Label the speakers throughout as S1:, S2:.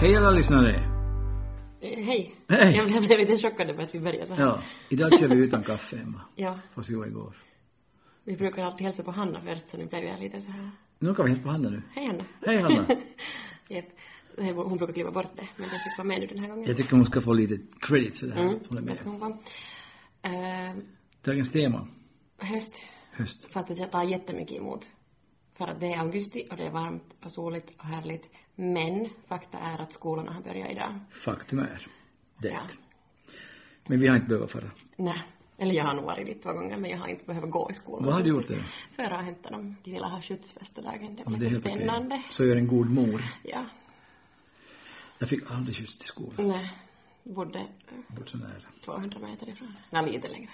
S1: Hej alla lyssnare!
S2: Eh, Hej.
S1: Hej.
S2: Jag blev jag blev lite chockad över att vi började så här.
S1: Ja, idag kör vi utan kaffe Emma.
S2: Ja.
S1: Fast det var igår.
S2: Vi brukar alltid hälsa på Hanna först, så nu blev jag lite så här.
S1: Nu kan vi hälsa på Hanna nu.
S2: Hej Hanna.
S1: Hej, Hanna.
S2: Japp. Hon brukar kliva bort det, men den fick vara med nu den här gången. Mm.
S1: Jag tycker hon ska få lite credit för det här. att hon är
S2: Vad
S1: med.
S2: ska hon vara? Eh,
S1: Dagens tema,
S2: höst.
S1: höst.
S2: Fast det tar jättemycket emot. För att det är augusti och det är varmt och soligt och härligt. Men fakta är att skolorna har börjat idag.
S1: Faktum är det.
S2: Ja.
S1: Men vi har inte behövt fara.
S2: Nej. Eller jag har nog varit dit två gånger, men jag har inte behövt gå i skolan.
S1: Vad har du gjort
S2: det?
S1: då?
S2: Förra hämtade dem. De ville ha skjutsfest den dagen. Det var
S1: Men
S2: lite
S1: okej.
S2: spännande.
S1: Så gör en god mor.
S2: Ja.
S1: Jag fick aldrig skjuts till skolan.
S2: Nej. Bodde eh,
S1: Bort så nära.
S2: 200 meter ifrån. Nej, lite längre.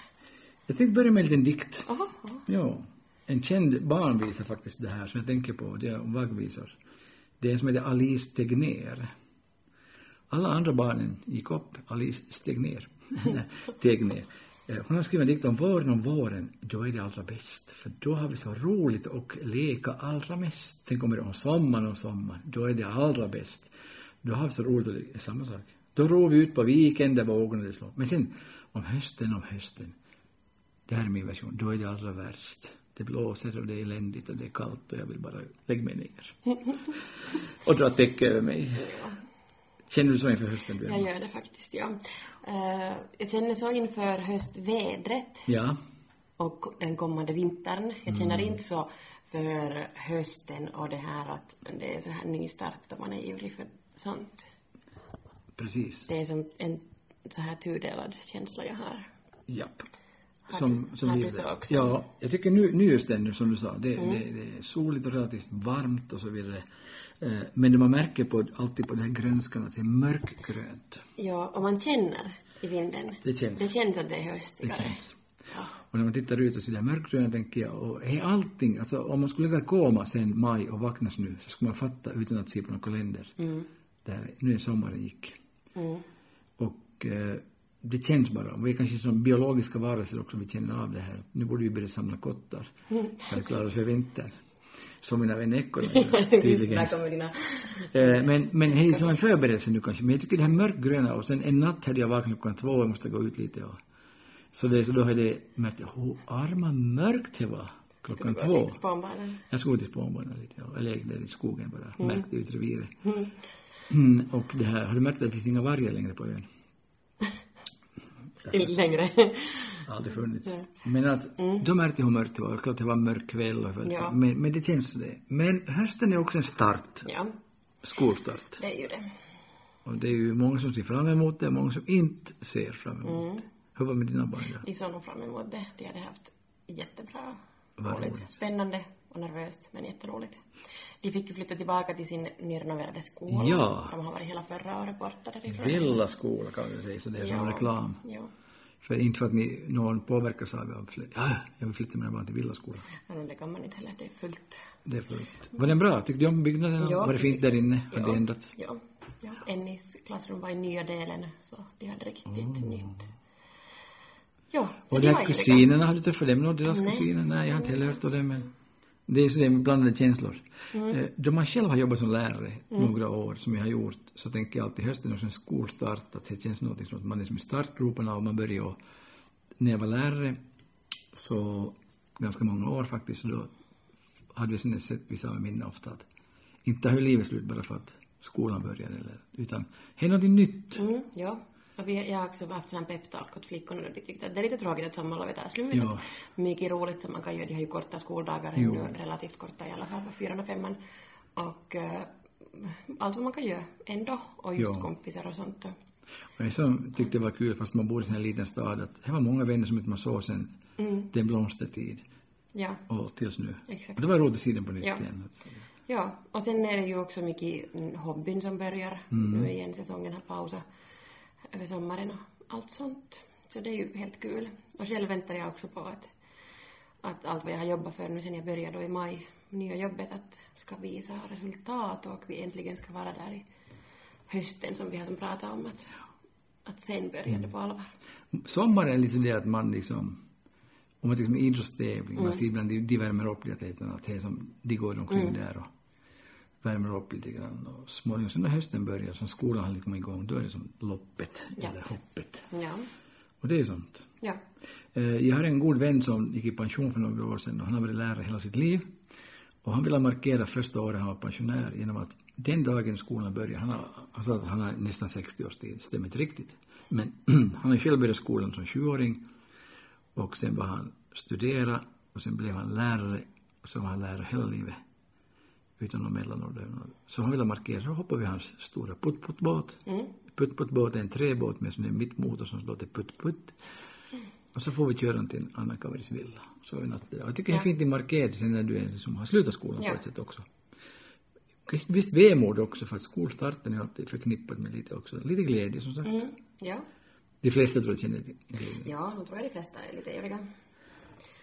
S1: Jag tänkte börja med en liten dikt.
S2: Jaha. jaha.
S1: Ja. En känd barnvisa faktiskt det här som jag tänker på, det är om vaggvisor. Det är en som heter Alice Tegner. Alla andra barnen gick upp, Alice steg ner. Teg ner. Eh, Hon har skrivit en dikt om våren, om våren, då är det allra bäst. För då har vi så roligt och leka allra mest. Sen kommer det om sommaren, om sommaren, då är det allra bäst. Då har vi så roligt och leka, samma sak. Då ror vi ut på viken där vågorna det slår. Men sen, om hösten, om hösten, det här är min version. Då är det allra värst. Det blåser och det är eländigt och det är kallt och jag vill bara lägga mig ner. och dra täcke över mig. Känner du så inför hösten du? Emma?
S2: Jag gör det faktiskt, ja. Eh, jag känner så inför höstvädret
S1: Ja.
S2: och den kommande vintern. Jag känner
S1: Mm.
S2: inte så för hösten och det här att det är så här ny start och man är ivrig för sånt.
S1: Precis.
S2: Det är som en så här tudelad känsla jag har.
S1: Japp.
S2: Har
S1: Som,
S2: du-
S1: som
S2: har
S1: vi
S2: du
S1: gjorde.
S2: så också? Mm.
S1: Ja, jag tycker nu, nu just det nu som du sa, det, det, det är soligt och relativt varmt och så vidare. Eh, Men det man märker på, alltid på den här grönskan att det är mörkgrönt.
S2: Ja, och man känner i vinden.
S1: Det känns.
S2: Det känns att det är
S1: Det
S2: höstigare.
S1: känns.
S2: Ja.
S1: Och när man tittar ut och ser det här mörkgröna tänker jag, och är allting, alltså om man skulle ligga i koma sen maj och vakna nu så skulle man fatta utan att se på någon kalender. Där, nu är sommaren gick. Och eh, det känns bara, vi är kanske som biologiska varelser också, vi känner av det här. Nu borde vi börja samla kottar för att klara oss för vintern. Som mina vänner ekorrarna gör, tydligen.
S2: Där kommer dina...
S1: Eh, Men, men hej, som en förberedelse nu kanske. Men jag tycker det här mörkgröna och sen en natt hade jag vaknat klockan två och jag måste gå ut lite och så, det, så då hade jag märkt hur arma mörkt det var klockan två.
S2: Spånbanan.
S1: Jag skulle till spånbanan lite, ja. jag lekte där i skogen bara, märkte ut reviret. Mm, och det här, har du märkt att det finns inga vargar längre på ön?
S2: Längre.
S1: Aldrig funnits. Mm. Men att, då märkte jag hur mörkt det var. Klart det var en mörk kväll och
S2: Ja.
S1: men, men det känns så det. Men hösten är också en start,
S2: ja,
S1: skolstart.
S2: det är ju det.
S1: Och det är ju många som ser fram emot det, många som inte ser fram
S2: Mm.
S1: emot det. Hur var det med dina barn då?
S2: De såg nog fram emot det. De hade haft jättebra,
S1: Vad
S2: roligt,
S1: roligt.
S2: spännande och nervöst, men jätteroligt. De fick ju flytta tillbaka till sin nyrenoverade skola.
S1: Ja.
S2: De har varit hela förra året borta därifrån.
S1: Villa skola kan vi säga, så det är som reklam.
S2: Ja.
S1: För inte för att ni, någon påverkas av att fly- ah, jag vill flytta mina barn till villaskola.
S2: Ja, men det kan man inte heller, det är fullt.
S1: Det är förut. Var den bra? Tyckte du om byggnaden?
S2: Ja,
S1: var det fint där inne? Har det
S2: Ja,
S1: ändrats?
S2: Ja. ja. Ennis klassrum var i nya delen, så de hade riktigt nytt. Ja, så
S1: Oh. Och de
S2: de var
S1: här
S2: ivriga.
S1: kusinerna, har du träffat dem någon? Deras kusiner? Nej, jag har inte heller hört om det, men det är så det är med blandade känslor. Mm. Då man själv har jobbat som lärare några år, som jag har gjort, så tänker jag alltid hösten är som en skolstart, att det känns något som att man är som i startgroparna och man börjar och, när jag var lärare, så ganska många år faktiskt, så då hade vi sådana sätt vi sa med minne ofta att inte höll livet slut bara för att skolan började, eller, utan händer något nytt.
S2: Mm, ja. Och vi, jag har också haft sån här peptalk åt flickorna då de tyckte att det är lite tråkigt att sommarlovet är slut.
S1: Ja.
S2: att Mycket roligt som man kan göra. De har ju korta skoldagar
S1: Jo.
S2: ännu, relativt korta i alla fall, på fyran och femman. Och eh, allt vad man kan göra ändå. Och just
S1: Ja.
S2: kompisar och sånt. Och,
S1: Och jag som tyckte det var kul, fast man bodde i en sån här liten stad, att det var många vänner som inte man såg sen den blomstertid
S2: ja.
S1: och tills nu.
S2: Mm. Exakt.
S1: Och det var roligt att se den på nytt
S2: Ja.
S1: igen. Att-
S2: ja. Och sen är det ju också mycket mm, hobbyn som börjar nu igen. Säsongen har pausat över sommaren och allt sånt. Så det är ju helt kul. Och själv väntar jag också på att att allt vad jag har jobbat för nu sen jag började då i maj, nya jobbet, att ska visa resultat och vi äntligen ska vara där i hösten som vi har som pratat om att, att sen började på allvar.
S1: Sommaren är liksom det att man liksom, om man till exempel idrottstävling,
S2: Mm.
S1: man ser ibland de, de värmer upp lite atleterna, att det är som, de går omkring
S2: Mm.
S1: där och värmer upp lite grann och småningom, sen när hösten börjar, som skolan har liksom kommit igång, då är det som loppet,
S2: Ja.
S1: eller hoppet.
S2: Ja.
S1: Och det är sånt.
S2: Ja.
S1: Eh, Jag har en god vän som gick i pension för några år sedan och han har varit lärare hela sitt liv. Och han ville markera första året han var pensionär genom att den dagen skolan började, han, har, han sa att han har nästan 60 års tid, stämmer inte riktigt. Men han har själv börjat skolan som 20-åring och sen var han studera och sen blev han lärare och sen var han lärare hela livet utan någon mellanord. eller något. Så han ville markera, så hoppade vi i hans stora putt-putt-båt. Putt-putt-båt är en träbåt med som är mittmotor som låter putt-putt. Och så får vi köra till Anna Kavaris villa. Så är vi natt där. Jag tycker det är fint din markering sen när du är, som har slutat skolan
S2: Ja.
S1: på ett sätt också. Visst- Visst vemod också för att skolstarten är alltid förknippad med lite också, lite glädje som sagt.
S2: Mm. ja.
S1: De flesta tror jag känner till glädje.
S2: Ja, nu tror jag de flesta är lite övriga.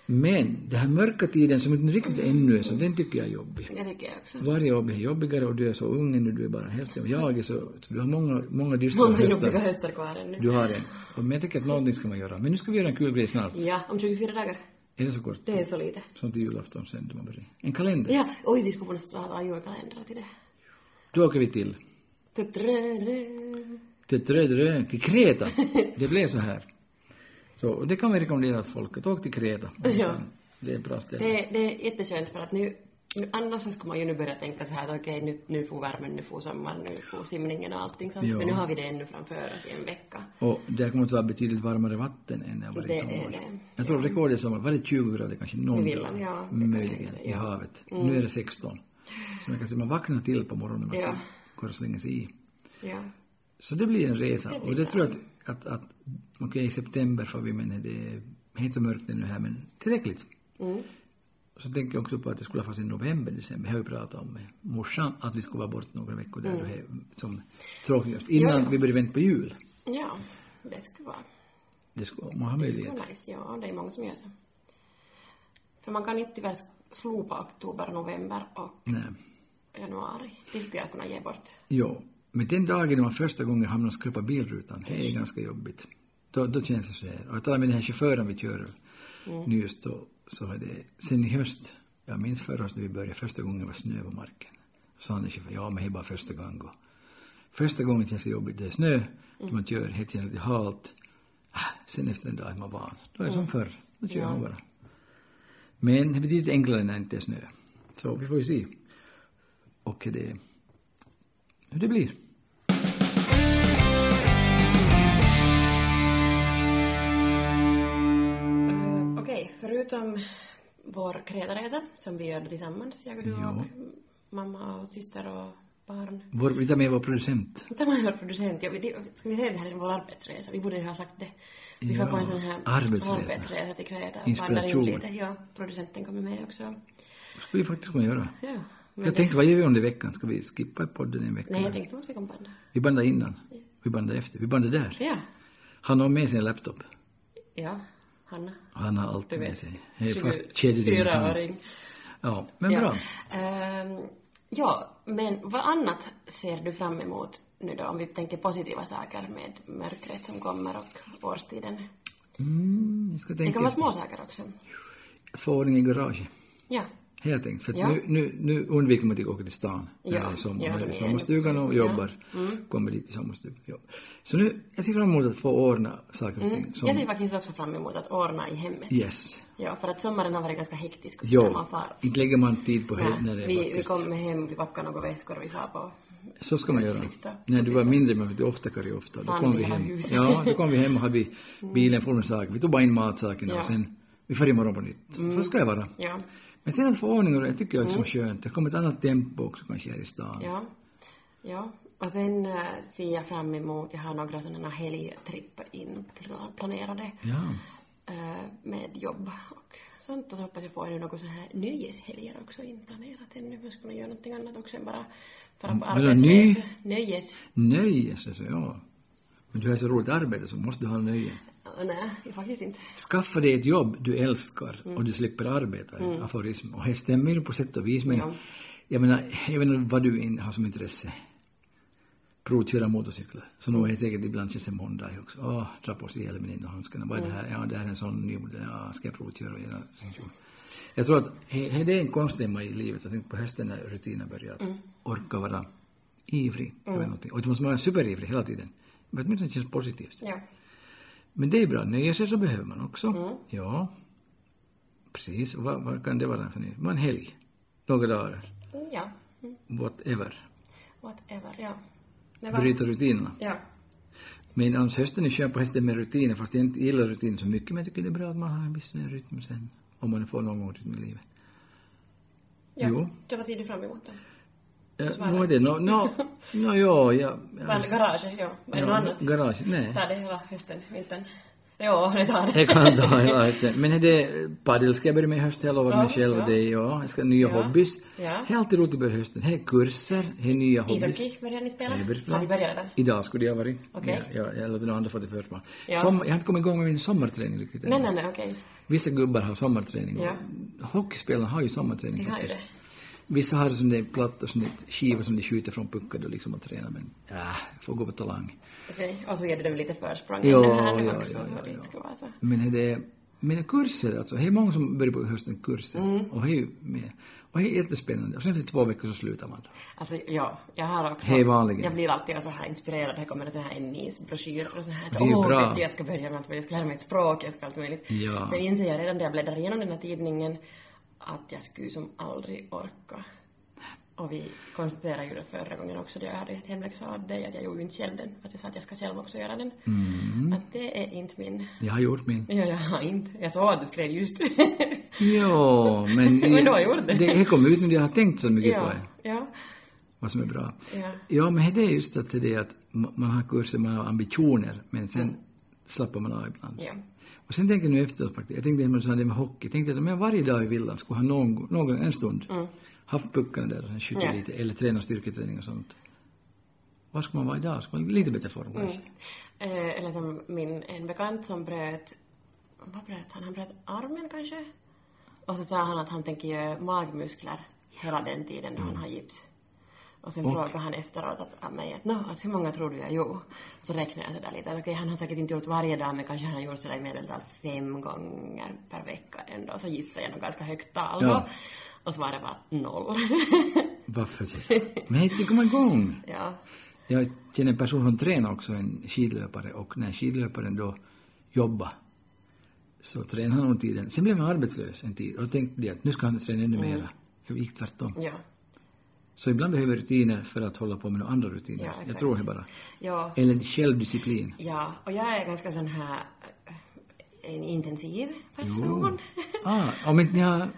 S1: Men den här mörka tiden som inte riktigt ännu är så, den tycker jag är jobbig.
S2: Det tycker jag också.
S1: Varje år blir jobbigare och du är så ung ännu, du är bara hälften av jag är så, så du har många, många dystra
S2: Många jobbiga
S1: höstar.
S2: höstar kvar ännu.
S1: Du har en. Och Men jag tycker att någonting ska man göra. Men nu ska vi göra en kul grej snart.
S2: Ja, om 24 dagar.
S1: Är det så kort?
S2: Det är så lite.
S1: Som till julafton sen då man börjar. En kalender.
S2: Ja, oj, vi skulle nästan ha julkalendrar till det.
S1: Då åker vi till,
S2: Tutrödö.
S1: till, Tröderö, till Kreta. Det blev så här. Så och det kan vi rekommendera att folk att åka till Kreta.
S2: Ja.
S1: Det är ett bra ställe.
S2: Det, det är jätteskönt för att nu, nu annars så skulle man ju nu börja tänka så här att okej nu, nu får värmen, nu får sommaren, nu får simningen och allting sånt.
S1: Ja.
S2: Men nu har vi det ännu framför oss i en vecka.
S1: Och det kommer att vara betydligt varmare vatten än när det var
S2: Det
S1: i
S2: är
S1: sommar.
S2: det.
S1: Jag tror rekordet i sommar, var det 20 grader kanske? Någon
S2: I villan,
S1: dag.
S2: ja, det kan Mm.
S1: Möjligen,
S2: hända,
S1: i havet. Nu är det 16. Så man kan säga, man vaknar till på morgonen när man
S2: Ja.
S1: ja. går och slänger sig i.
S2: Ja.
S1: Så det blir en resa. och det tror jag att, att, att okej, i september får vi, men det är inte så mörkt ännu här, men tillräckligt. Mm. Så tänker jag också på att det skulle ha funnits i november, december. Jag har ju pratat om med morsan att vi skulle vara bort några veckor där, då är som tråkigast. Innan vi börjar vänta på jul.
S2: ja, det skulle vara,
S1: Det skulle, man har
S2: det skulle
S1: möjlighet.
S2: vara nice. Ja, det är många som gör så. För man kan inte tyvärr slopa oktober, november och
S1: Nej.
S2: januari. Det skulle jag kunna ge bort.
S1: Jo. Men den dagen när man första gången hamnar och skrapar bilrutan, det är ganska jobbigt. Då, då känns det så här. Och jag talar med den här chauffören vi kör nu just så, så är det, sen i höst, jag minns förra hösten vi började, första gången var snö på marken. Så sa han till chauffören, ja men det är bara första gången. och Första gången känns det jobbigt, det är snö, när man kör, det känns lite halt. Ah, Sen efter en dag är man van. Då är det som förr, då kör man bara. Men det betyder enklare när det inte är snö. Så vi får ju se. Och det, hur det blir.
S2: Eh, Okej, förutom vår Kretaresa som vi gör tillsammans, jag och du
S1: Ja.
S2: och mamma och syster och barn.
S1: Vår, vi tar med vår producent.
S2: Vänta, man hör producent. Ja, vi- det- ska vi säga att det här är vår arbetsresa? Vi borde ju ha sagt det. Vi får
S1: Ja,
S2: på en sån här
S1: arbetsresa.
S2: arbetsresa till Kreta. och
S1: Inspiration.
S2: vandrar in lite. Ja, producenten kommer med också.
S1: skulle vi faktiskt kunna göra.
S2: Ja, men
S1: Jag tänkte, vad gör vi under veckan? Ska vi skippa podden i en vecka?
S2: nej, jag tänkte nog att vi kan banda.
S1: Vi bandar innan. Vi bandar efter. Vi bandar där.
S2: Ja,
S1: Han har med sig en laptop.
S2: ja, Hanna.
S1: Han har alltid med
S2: vet,
S1: sig. Hej,
S2: 24
S1: fast kedjor i hans hand.
S2: åring.
S1: Ja, men
S2: ja.
S1: bra.
S2: Ehm, ja, men vad annat ser du fram emot nu då, om vi tänker positiva saker med mörkret som kommer och årstiden?
S1: Mm, jag ska
S2: Det kan
S1: tänka
S2: vara små saker också.
S1: tvååring i garaget.
S2: Ja,
S1: Har jag tänkt. För att
S2: Ja.
S1: nu, nu, nu undviker man att gå till stan när
S2: Ja,
S1: det är sommar.
S2: ja,
S1: Ja,
S2: det Mm.
S1: är
S2: är-
S1: sommarstugan och jobbar. Kommer dit till sommarstugan. Ja. Så nu, jag ser fram emot att få ordna saker och ting.
S2: jag
S1: Som,
S2: ser faktiskt också fram emot att ordna i hemmet.
S1: yes.
S2: Mm. Ja, för att sommaren har varit ganska hektisk och så när
S1: Jo,
S2: man far.
S1: inte lägger man tid på he- när
S2: Nej,
S1: det är
S2: vi,
S1: vackert.
S2: vi kom hem, vi packade några väskor och vi far på.
S1: Så ska man göra.
S2: Utflykter.
S1: När du var mindre, men du ofta ofta. Då kom vi hem.
S2: Sandvillahuset.
S1: Ja, då kom vi hem och hade vi bilen full med saker. Vi tog bara in matsakerna
S2: Ja. Mm.
S1: och sen, vi får imorgon på nytt. Så ska det vara.
S2: Ja,
S1: Men sen att få ordning och det tycker jag är liksom skönt. Det kommer ett annat tempo också kanske här i stan.
S2: Mm. ja, ja. Och sen eh, ser jag fram emot, jag har några sådana helgtripp inplanerade.
S1: Ja.
S2: eh, med jobb och sånt. Och så hoppas jag få ännu något sån här nöjeshelger också inplanerat ännu. Man skulle kunna göra någonting annat också än bara fara på
S1: Mm, vadå, ny?
S2: Nöjes.
S1: Nöjes, alltså, ja. Men du har så roligt arbete så måste du ha nöje.
S2: Ja, nej, jag faktiskt inte.
S1: Skaffa dig ett jobb du älskar och du slipper arbeta, mm. aforism. Och det stämmer ju på sätt och vis, men
S2: Ja.
S1: jag menar, jag vet inte vad du in, har som intresse. Provköra motorcyklar. Så nog är det säkert ibland känns det måndag också. Åh, dra på sig hjälmen in och handskarna. Vad är det här? Ja, det här är en sån ny modell. Ja, ska jag provköra? och göra- Jag tror att he- he- det är en konstnämma i livet. Jag tänkte på hösten när rutinen börjar. Att orka vara ivrig. Mm. Någonting. Och du måste vara superivrig hela tiden. Men åtminstone känns positivt.
S2: Ja.
S1: Men det är bra. Nöja sig så behöver man också.
S2: Mm.
S1: Ja. Precis. Och Vad, vad kan det vara för nöje? Bara en helg. Några dagar.
S2: Mm, Ja. Mm.
S1: Whatever.
S2: Whatever, ja. Det var...
S1: Bryta rutinerna.
S2: Ja.
S1: Men annars hösten är skön på hästen med rutiner. Fast jag inte gillar rutiner så mycket. Men jag tycker det är bra att man har en viss sån här rytm sen. Om man får någon gång rytm i livet.
S2: ja.
S1: Jo.
S2: Så vad ser du fram emot då?
S1: Eh, Nå är det nå, nå, nå ja, ja.
S2: Var det garaget? Ja. Var det något annat?
S1: Garage. Nej.
S2: Tar det hela hösten, vintern? Jo, det tar det.
S1: Jag kan ta hela hösten. Men är det padel ska jag börja med i höst, jag lovar
S2: Ja,
S1: mig själv
S2: ja.
S1: det. Ja, jag ska ha nya hobbys.
S2: ja.
S1: Det är alltid roligt att börja hösten. Här är kurser, här är nya hobbys.
S2: Ishockey började ni spela?
S1: Jag började spela.
S2: Har ni börjat redan?
S1: Idag skulle det ha varit.
S2: Okej.
S1: Ja, jag, jag låter några andra få det först bara.
S2: Ja.
S1: Sommar, jag har inte kommit igång med min sommarträning riktigt än.
S2: Nej, nej, nej, okej.
S1: Vissa gubbar har sommarträning.
S2: Ja.
S1: och Hockeyspelarna har ju sommarträning
S2: Det har ju
S1: faktiskt. Vissa har sån där plattor, sån där skiva som de skjuter från puckar och liksom och tränar men äh, får gå på talang.
S2: Okej. Och så ger du dem lite försprång
S1: Ja,
S2: innan här nu
S1: ja,
S2: också.
S1: ja,
S2: så
S1: ja,
S2: det
S1: ja.
S2: inte ska vara så.
S1: Men det är mina kurser, alltså, det är många som börjar på hösten kurser.
S2: Mm.
S1: Och det är ju med. Och det är jättespännande. Och sen efter två veckor så slutar man.
S2: Alltså, ja, jag har också...
S1: Hej, vanligen.
S2: Jag blir alltid så här inspirerad. Här kommer så här en NIS-broschyr och så här. att,
S1: Det är ju
S2: Åh,
S1: bra.
S2: vet du, jag ska börja med att jag ska lära mig ett språk, jag ska allt möjligt.
S1: Ja.
S2: Sen inser jag redan när jag bläddrar igenom den här tidningen att jag skulle som aldrig orka. Och vi konstaterade ju det förra gången också, då jag hade ett hemläxa av dig, att jag gjorde ju inte själv den. Fast jag sa att jag ska själv också göra den.
S1: Mm.
S2: Att det är inte min...
S1: Jag har gjort min.
S2: Ja, jag har inte. Jag sa att du skrev just...
S1: Ja, men...
S2: Men du har gjort det.
S1: Det kom ut när jag har tänkt så mycket på
S2: ja,
S1: det.
S2: ja,
S1: Vad som är bra.
S2: ja.
S1: Ja, men det är just att det är att ma- man har kurser, man har ambitioner, men sen slappar man av ibland.
S2: Mm. Ja.
S1: Och sen tänker jag nu efteråt faktiskt, jag tänkte när du sa det med hockey, tänkte att om jag varje dag i villan skulle ha någon, någon en stund, haft puckarna där och sen skjutit
S2: Mm. Ja.
S1: lite, eller tränat styrketräning och sånt. Var ska man vara idag? Ska man vara i lite bättre
S2: Mm.
S1: form kanske?
S2: Eh, eller som min, en bekant som bröt, vad bröt han? Han bröt armen kanske? Och så sa han att han tänker göra magmuskler hela den tiden då han har gips. Och sen frågade han efteråt att, av mig att, "Nå, att hur många tror du jag gjorde? Och så räknade jag sådär lite att okej, han har säkert inte gjort varje dag men kanske han har gjort sådär i medeltal fem gånger per vecka ändå. Så gissade jag nog ganska högt tal då.
S1: Ja.
S2: Och svaret var noll.
S1: Varför det? Men det kommer igång!
S2: ja.
S1: Jag känner en person som tränar också, en skidlöpare, och när skidlöparen då jobbar så tränade han om tiden. Sen blev han arbetslös en tid och då tänkte jag att nu ska han träna ännu
S2: Mm.
S1: mera. Jag gick tvärtom.
S2: Ja.
S1: Så ibland behöver rutiner för att hålla på med några andra rutiner.
S2: Ja, exakt.
S1: jag tror det bara.
S2: Ja.
S1: Eller självdisciplin.
S2: Ja, och jag är ganska sån här eh, en intensiv person.
S1: Ah, om inte ni har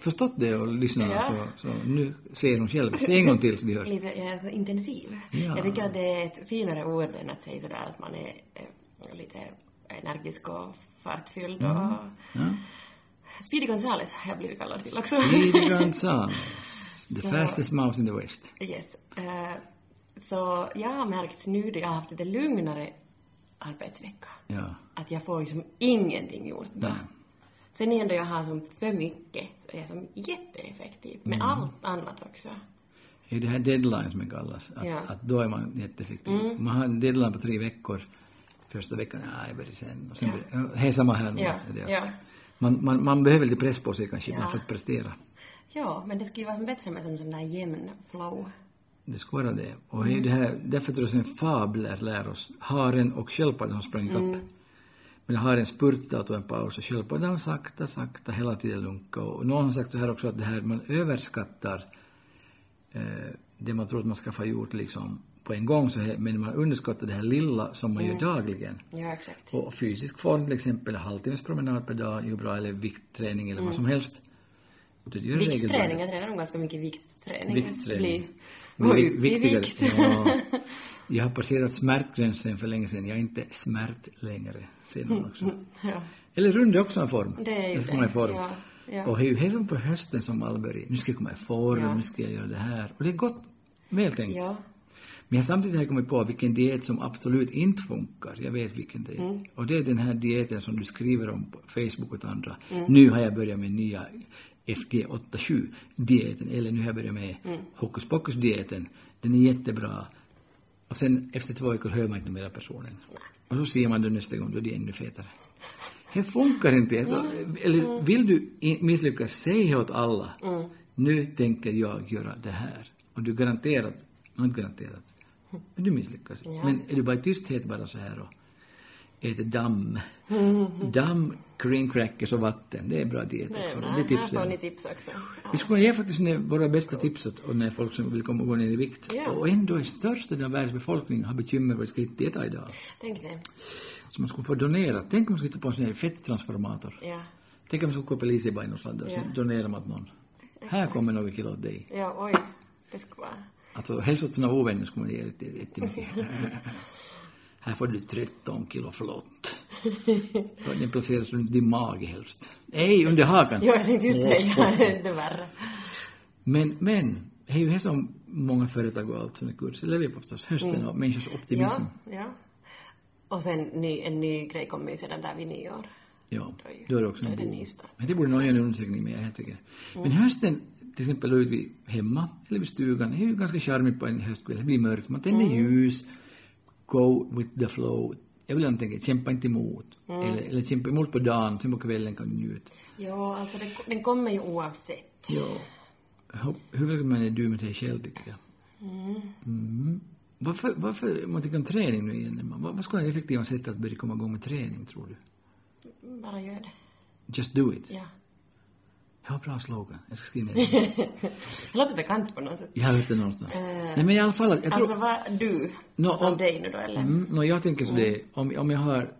S1: förstått det och lyssnat
S2: Ja.
S1: så, så nu ser hon själv. Säg en gång till så vi hörs.
S2: Lite jag är så intensiv.
S1: Ja.
S2: Jag tycker att det är ett finare ord än att säga sådär att man är eh, lite energisk och fartfylld
S1: Mm.
S2: och...
S1: Ja.
S2: Speedy Gonzales har jag blivit kallad till också.
S1: Speedy Gonzales. The
S2: Så-
S1: fastest mouse in the west.
S2: Yes. Eh, så jag har märkt nu då jag har haft lite lugnare arbetsvecka
S1: Ja.
S2: att jag får ju som ingenting gjort då. Sen igen då jag har som för mycket så är jag som jätteeffektiv med
S1: Mm.
S2: allt annat också.
S1: Det är det här deadline som det kallas. Att,
S2: Ja. Mm.
S1: att då är man jätteeffektiv. Man har en deadline på tre veckor. Första veckan, nej, jag börjar sen. Och sen börjar, det är samma här nu.
S2: Ja,
S1: alltså, det är att
S2: ja.
S1: man, man, man behöver lite press på sig kanske ibland för att prestera.
S2: Ja, men det skulle ju vara som bättre med som sån där jämn flow.
S1: Det ska vara det. Och det är det här, därför tror jag sen fabler lär oss. Haren och sköldpaddan har sprungit upp. Men haren spurtade och tog en paus och sköldpaddan har sakta, sakta hela tiden lunkade. Och någon har sagt så här också att det här man överskattar eh, det man tror att man ska få gjort liksom på en gång så här, men man underskattar det här lilla som man gör dagligen.
S2: Ja, exakt.
S1: Och fysisk form till exempel, halvtimmes promenad per dag är ju bra, eller viktträning eller vad som helst. Det gör
S2: Viktträning,
S1: regelbundet.
S2: jag tränar nog ganska mycket viktträning.
S1: Viktträning.
S2: Bli, gå
S1: Vi-
S2: upp i
S1: viktigare.
S2: vikt.
S1: Ja. Jag har passerat smärtgränsen för länge sedan. Jag är inte smärt längre, säger någon också.
S2: ja.
S1: Eller rund är också en form.
S2: Mm, Det är ju
S1: ska man i
S2: det.
S1: form.
S2: Ja, ja.
S1: Och det är ju helt som på hösten som alla börjar. Nu ska jag komma i form,
S2: Ja.
S1: nu ska jag göra det här. Och det är gott, vältänkt.
S2: ja.
S1: Men jag samtidigt har jag kommit på vilken diet som absolut inte funkar. Jag vet vilken det är. Och det är den här dieten som du skriver om på Facebook och andra. Nu har jag börjat med nya FG87-dieten, eller nu har jag börjat med hokus pokus-dieten. Den är jättebra. Och sen efter två veckor hör man inte mera personen. Och så ser man den nästa gång, då är de ännu fetare. Det funkar inte. Alltså,
S2: Mm.
S1: eller vill du i- misslyckas, säg åt alla.
S2: Mm.
S1: Nu tänker jag göra det här. Och du garanterat, no, inte garanterat, men du misslyckas. Men är du bara i tysthet bara så här och äter damm. Damm, green crackers och vatten, det är bra diet också.
S2: Mm. Nej,
S1: det
S2: nej, här
S1: tipsar
S2: får
S1: jag.
S2: ni tips också. Ja.
S1: Vi skulle kunna ge faktiskt ne- våra bästa tips åt åt när folk som vill komma och gå ner i vikt.
S2: Ja.
S1: Och ändå är största delen av världens befolkning har bekymmer vad de ska hitta äta idag.
S2: Tänk det.
S1: Så man skulle få donera. Tänk om man skulle hitta på en sån här fetttransformator.
S2: Ja.
S1: Tänk om man skulle koppla i sig bara i någon sladd och sen
S2: Ja.
S1: donerar man åt någon. Här kommer några kilo åt dig.
S2: Ja, oj. Det skulle vara...
S1: Alltså helst åt sina ovänner skulle man ge ut det- jättemycket. Här får du 13 kilo flott. Den placeras runt din mage helst. Nej, under hakan.
S2: Ja, jag tänkte just säga det värre.
S1: Men, men, det är ju det som många företag och allt som är kurser lever på förstås. Hösten och människors optimism.
S2: Ja, ja. Och sen ny, en ny grej kommer ju sedan där vid nyår.
S1: Ja,
S2: Då är ju-
S1: då är det också
S2: då
S1: en
S2: är det
S1: boom.
S2: nystart. Mm.
S1: Men det borde någon göra en undersökning med, jag är helt säker. Men hösten, till exempel ut vid hemma eller vid stugan, det är ju ganska charmigt på en höstkväll. Det blir mörkt, man tänder
S2: Mm.
S1: ljus, go with the flow. Jag vill antingen kämpa inte emot,
S2: Mm.
S1: eller, eller kämpa emot på dagen, sen på kvällen kan du njuta.
S2: Ja, alltså den, den kommer ju oavsett.
S1: Ja. Hu- Huvudsaken är du med dig själv, tycker jag. Mm. Varför, varför, om man tänker om träning nu igen, Emma, vad, vad skulle vara effektiva sätt att börja komma igång med träning, tror du?
S2: Bara gör det.
S1: Just do it.
S2: Ja.
S1: Ja, bra slogan. Jag ska skriva ner den.
S2: Det låter bekant på något sätt.
S1: Jag har hört det någonstans. Nej, men i alla fall, jag tror...
S2: Eh, Alltså vad du,
S1: Nå,
S2: av
S1: om-
S2: dig nu då eller?
S1: Mm, nå, jag tänker så det, om, om jag har...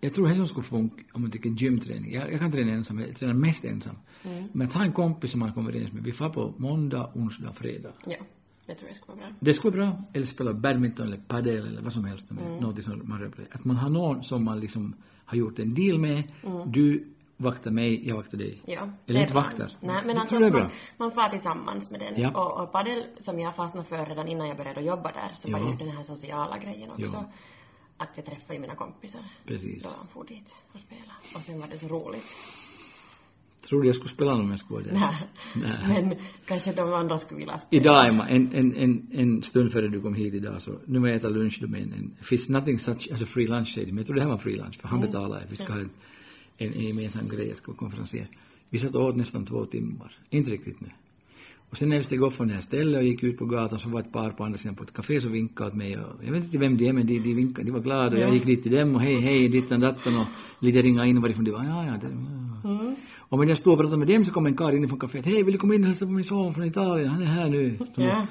S1: Jag tror det som skulle funka om man tänker gymträning. Jag, jag kan träna ensam, jag tränar mest ensam.
S2: Mm.
S1: Men att ha en kompis som man kommer överens med, vi far på måndag, onsdag, fredag.
S2: Ja, det tror jag skulle vara bra.
S1: Det skulle vara bra. Eller spela badminton eller padel eller vad som helst. Mm. Något som man rör på det. Att man har någon som man liksom har gjort en deal med. Du vaktar mig, jag vaktar dig.
S2: Mm. Ja, det
S1: eller
S2: är
S1: inte
S2: bra.
S1: vaktar.
S2: Nej, men
S1: jag
S2: alltså
S1: tror det är
S2: man,
S1: bra.
S2: man far tillsammans med den.
S1: Ja.
S2: Och, och padel, som jag fastnade för redan innan jag började jobba där, så var
S1: Ja.
S2: ju den här sociala grejen också.
S1: Ja.
S2: Att jag träffade ju mina kompisar.
S1: Precis.
S2: Då han for dit och spela. Och sen var det så roligt.
S1: Tror du jag skulle spela någon om jag skulle vara där?
S2: Men kanske de andra skulle vilja spela.
S1: Idag, Emma, en, en, en, en stund före du kom hit idag, så nu var jag äta lunch då med en, en finns nothing such as a free lunch, säger de. Men jag tror det här var en free lunch, för han betalade. Vi ska ha en, en, en gemensam grej, jag ska konferensera. Vi satt och åt nästan två timmar. Inte riktigt nu. Och sen när vi steg upp från det här stället och gick ut på gatan så var ett par på andra sidan på ett café som vinkade åt mig. Och jag vet inte vem det är, men de, de vinkade. De var glada och jag gick dit till dem och hej, hej, dittan, dattan och lite ringa in varifrån de var. Ja, ja, det, ja.
S2: Mm.
S1: Och medan jag stod och pratade med dem så kom en karl inifrån kaféet. Hej, vill du komma in och hälsa på min son från Italien? Han är här nu. Så,
S2: Ja.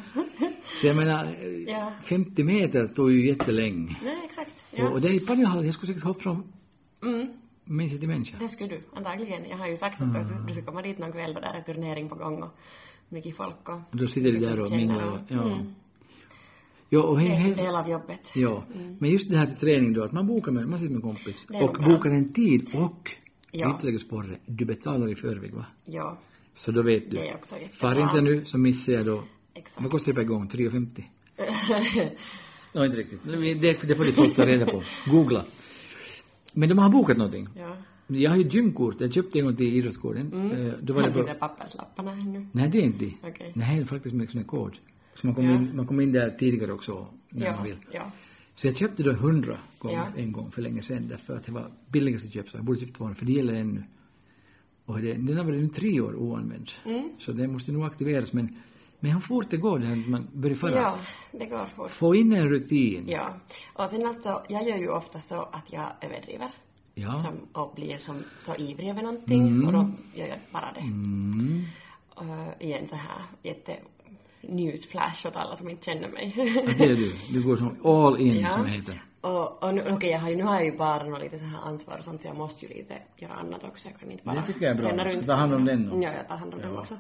S1: så jag menar,
S2: Ja.
S1: 50 meter tog ju jättelänge.
S2: Nej, exakt.
S1: Och,
S2: Ja.
S1: och det är i Panjahallen, jag skulle säkert hoppa från
S2: Mm,
S1: människa till människa.
S2: det skulle du antagligen. Jag har ju sagt att
S1: Mm.
S2: du- du ska komma dit någon kväll och där är turnering på gång och mycket folk och...
S1: Och då sitter de där och
S2: Känner
S1: minglar. och-
S2: och-
S1: Ja. Ja, och
S2: Det
S1: hej,
S2: är en
S1: hej.
S2: del av jobbet.
S1: Ja, men just det här till träning då, att man bokar med, man sitter med en kompis
S2: Mm. Det är
S1: och
S2: nog bra.
S1: bokar en tid och
S2: Ja.
S1: ytterligare sporre, du betalar i förväg va?
S2: Ja,
S1: Så då vet du.
S2: Det är också jättebra.
S1: Far inte nu så missar jag då.
S2: exakt.
S1: Vad kostar det per gång? 3,50? Nej, inte riktigt. Men Det, det får de folk ta reda på. Googla. Men de har bokat någonting.
S2: Ja.
S1: Jag har ju ett gymkort, jag köpte en gång till idrottsgården.
S2: Mm.
S1: Eh, Då var
S2: Har
S1: det
S2: du
S1: på...
S2: de där papperslapparna ännu?
S1: Nej, det är inte det.
S2: Okej.
S1: Nej, det är faktiskt med sån här kod. Så man kommer
S2: Ja.
S1: in, man kom in där tidigare också, när man
S2: Ja,
S1: vill.
S2: ja.
S1: Så jag köpte då 100 gånger
S2: Ja.
S1: en gång för länge sedan därför att det var billigaste köp så jag borde köpt 200 för det gäller ännu. Och det, den har varit nu tre år oanvänd.
S2: Mm.
S1: Så den måste nog aktiveras men, men hur fort det går det här att man börjar föra.
S2: Ja, det går fort.
S1: Få in en rutin.
S2: Ja. Och sen alltså, jag gör ju ofta så att jag överdriver.
S1: Ja. Mm.
S2: Som, och blir som, så ivrig över någonting och då gör jag bara det. Uh, igen så här jätte newsflash åt alla som inte känner mig.
S1: Det är du. Du går som all in som det heter.
S2: Och, och nu, okej, jag har, ju- nu har jag ju barn och lite så här ansvar och sånt så jag måste ju lite göra annat också. Jag kan inte bara
S1: Det tycker jag är bra.
S2: ränna
S1: Du ska
S2: runt.
S1: ta hand om den då.
S2: Ja, jag tar hand om den också.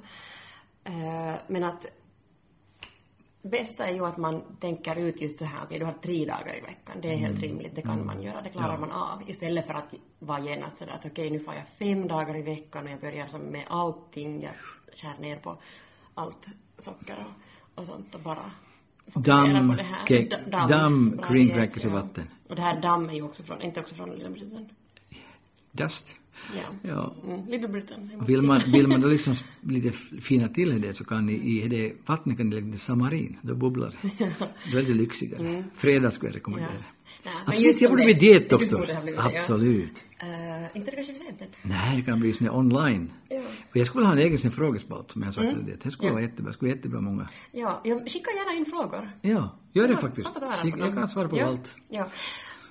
S2: Eh, men att bästa är ju att man tänker ut just så här, okej du har tre dagar i veckan, det är helt
S1: Mm.
S2: rimligt, det kan man göra, det klarar man av. Istället för att vara genast sådär att okej nu får jag fem dagar i veckan och jag börjar som med allting, jag skär ner på allt socker och, och sånt och bara fokusera på det här.
S1: ke-
S2: Da-
S1: damm,
S2: Bra,
S1: kring
S2: det,
S1: kräkelse
S2: ja.
S1: vatten.
S2: Och det här damm är ju också från, inte också från Lilla Britton.
S1: Dust.
S2: Ja.
S1: Ja.
S2: Mm, Little Britain. jag måste
S1: Vill
S2: säga.
S1: man, vill man då liksom s- lite f- fina till det så kan ni i det vattnet kan ni lägga lite samarin, då bubblar det. Det är lite lyxigare. Fredag skulle jag rekommendera.
S2: Mm. Ja. Nej, men
S1: alltså
S2: just
S1: visst, jag
S2: som
S1: borde bli
S2: det-
S1: dietdoktor.
S2: du borde ha blivit det, ja.
S1: Absolut.
S2: Eh, inte det kanske är för sent än.
S1: Nej, det kan bli sån här online.
S2: Ja.
S1: Och jag skulle vilja ha en egen sån frågespalt som jag sa
S2: Mm.
S1: till dig. Det skulle vara jättebra, det skulle vara jättebra många.
S2: Ja, jag skicka gärna in frågor.
S1: Ja, gör det
S2: Ja,
S1: faktiskt.
S2: hoppas svara på
S1: Jag
S2: någon.
S1: kan svara på
S2: ja,
S1: allt.
S2: Ja.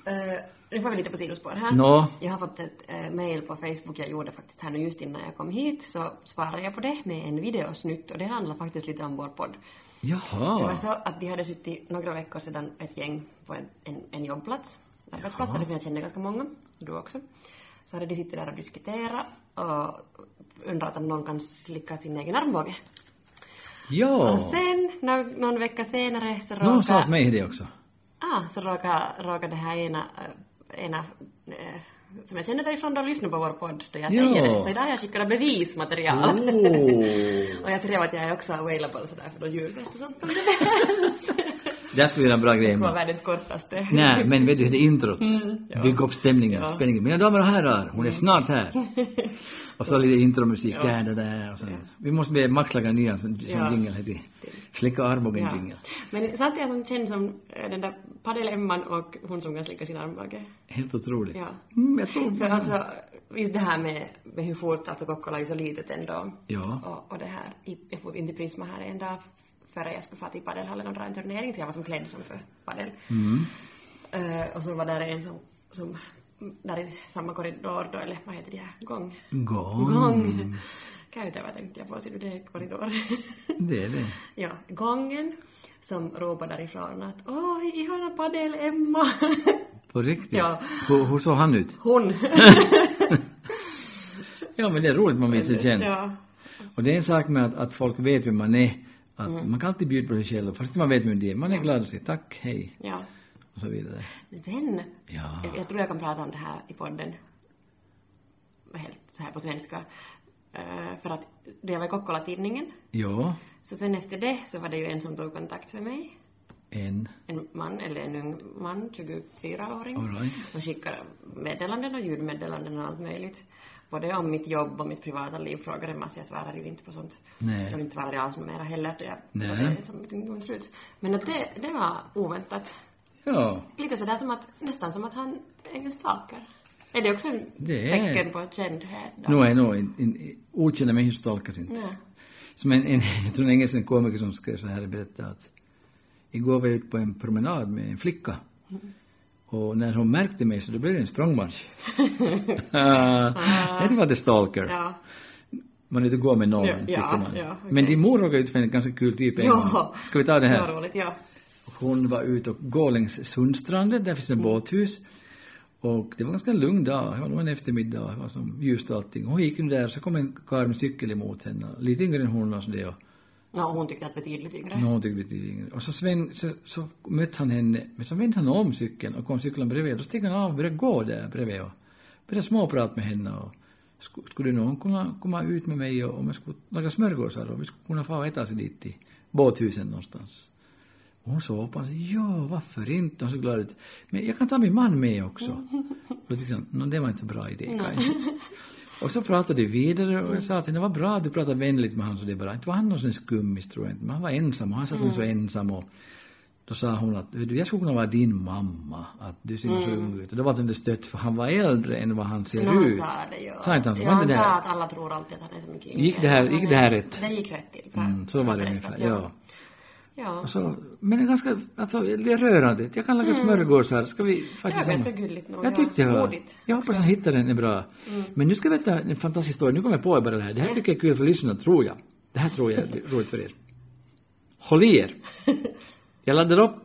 S2: Eh, nu får vi lite på sidospår här.
S1: Nå.
S2: Jag har fått ett eh, mail på Facebook jag gjorde faktiskt här nu just innan jag kom hit så svarade jag på det med en videosnutt och det handlar faktiskt lite om vår podd. Det var
S1: Jaha.
S2: så att de hade suttit några veckor sedan ett gäng på en, en, en jobbplats, arbetsplats, därför jag känner ganska många, du också. Så hade de suttit där och diskuterat och undrat om någon kan slicka sin egen armbåge.
S1: Ja.
S2: Och sen, någon, någon vecka senare, så råkade...
S1: Någon sa åt mig det också.
S2: Ah, så råkar, råkar det här ena, äh, ena äh, som jag känner därifrån då lyssna på vår podd då jag
S1: Ja. Oh.
S2: säger det. Så idag har jag skickat bevismaterial.
S1: Åh.
S2: och jag skrev att jag är också available sådär för då julfest och sånt om det behövs.
S1: Det skulle vara en bra grej
S2: Det var
S1: Emma.
S2: världens kortaste.
S1: Mm. Nej, men vet du hur det är introt?
S2: Mm.
S1: Bygga upp stämningen, spänningen. Mina damer och herrar, hon är snart här. Och så lite intromusik. Där, där, där och så. Vi måste be Max laga en ny sån sån
S2: Ja.
S1: jingle. heter det. Slicka armbågen
S2: Ja.
S1: jingle.
S2: Men samtidigt som känns som äh, den där padel-Emman och hon som kan slicka sin armbåge.
S1: Helt otroligt.
S2: Ja.
S1: Mm, jag tror...
S2: För alltså, just det här med, med hur fort alltså Kokkola är så litet ändå.
S1: Ja.
S2: Och, och det här, i- jag får inte Prisma här en dag före jag skulle fara till padelhallen och dra en turnering så jag var som klädd som för padel. Eh, och så var där en som, som där i samma korridor då, eller vad heter det här, gång?
S1: Gång.
S2: Gång! Käytävä tänkte jag på, ser du det, korridor?
S1: Det är det.
S2: ja, gången som ropar därifrån att oj, ihana padel-Emma!
S1: På riktigt.
S2: Ja.
S1: Hur, hur såg han ut?
S2: Hon!
S1: Ja, men det är roligt man vill sig känd.
S2: ja.
S1: Och det är en sak med att, att folk vet vem man är. Att
S2: Mm.
S1: Man kan alltid bjuda på sig själv, fast man vet vem det är. Man är glad och säger tack, hej
S2: ja.
S1: och så vidare.
S2: Men sen,
S1: Ja.
S2: jag, jag tror jag kan prata om det här i podden, helt så här på svenska, Eh, för att det jag var i Kokkola-tidningen,
S1: Ja,
S2: så sen efter det så var det ju en som tog kontakt med mig,
S1: en.
S2: en man, eller en ung man, 24-åring,
S1: All right.
S2: och skickade meddelanden och ljudmeddelanden och allt möjligt. Både om mitt jobb och mitt privata liv frågade en massa, jag svarar ju inte på sånt.
S1: Nej.
S2: Och inte svarar jag alls numera heller, det, det var
S1: Nej.
S2: det som tog slut. Men att det, det var oväntat.
S1: Ja,
S2: Lite sådär som att, nästan som att han är en stalker. Är det också en
S1: Det är-
S2: tecken på kändhet? då?
S1: nu är nog en, en, okända människor stalkas inte.
S2: Nej.
S1: Som en, en, jag tror en engelsk en komiker som skrev så här berättade att igår var jag ute på en promenad med en flicka. Och när hon märkte mig så då blev det en språngmarsch. Ah, det var the stalker.
S2: Ja.
S1: Man är ute och går med någon,
S2: Ja,
S1: tycker
S2: ja,
S1: man.
S2: ja, okej.
S1: Men din mor råkade ut för en ganska kul typ en
S2: Ja.
S1: gång. Ska vi ta det här?
S2: Vad roligt, ja.
S1: Hon var ute och går längs Sundstranden, där finns
S2: Mm.
S1: en båthus. Och det var en ganska lugn dag, det var nog en eftermiddag, det var som ljust och allting. Hon gick nu där, så kom en karl med cykel emot henne, lite yngre än hon och så det och
S2: ja. hon tyckte att betydligt yngre.
S1: någon tyckte lite yngre. Och så, sven, så, så mötte han henne, men så vände han om cykeln och kom cykeln bredvid. Då steg han av och började gå där bredvid och började småprata med henne och "Sku- skulle någon kunna komma ut med mig och om jag skulle laga smörgåsar och vi skulle kunna få och äta sig dit till båthusen någonstans. Och hon såg på honom och sa, ja, varför inte? Hon såg glad ut. Men jag kan ta min man med också. Och då tyckte han, "Nå, det var inte så bra idé kanske. Och så pratade vi vidare och jag sa till henne, vad bra att du pratade vänligt med honom så det är bra. Inte var han någon sån skummis tror jag inte, men han var ensam och han satt mm. så ensam och då sa hon att, "Hör du, jag skulle kunna vara din mamma, att du ser så ung ut. Och då var det inte stött för han var äldre än vad han ser
S2: Mm. Men han
S1: ut.
S2: sa det ju.
S1: Sa inte han så?
S2: ja,
S1: Var
S2: han
S1: inte det
S2: sa
S1: här?
S2: att alla tror alltid att han är så mycket yngre.
S1: Gick det här-
S2: Han
S1: gick
S2: är-
S1: det här rätt?
S2: Det gick rätt till. Bra.
S1: Mm, så var det
S2: Bra
S1: ungefär,
S2: berättat,
S1: ja.
S2: Ja.
S1: Och så, men ganska, alltså det är rörande. Jag kan laga smörgåsar. Ska vi faktiskt
S2: Mm. Det var ganska gulligt nog,
S1: Jag
S2: ja.
S1: tyckte det var.
S2: Modigt Mm.
S1: Jag hoppas han hittar den är bra. Men nu ska jag berätta en fantastisk historia. Nu kommer jag på bara det här. Det här tycker jag är kul för lyssnarna, tror jag. Det här tror jag är roligt för er. Håll i er. Jag laddar upp.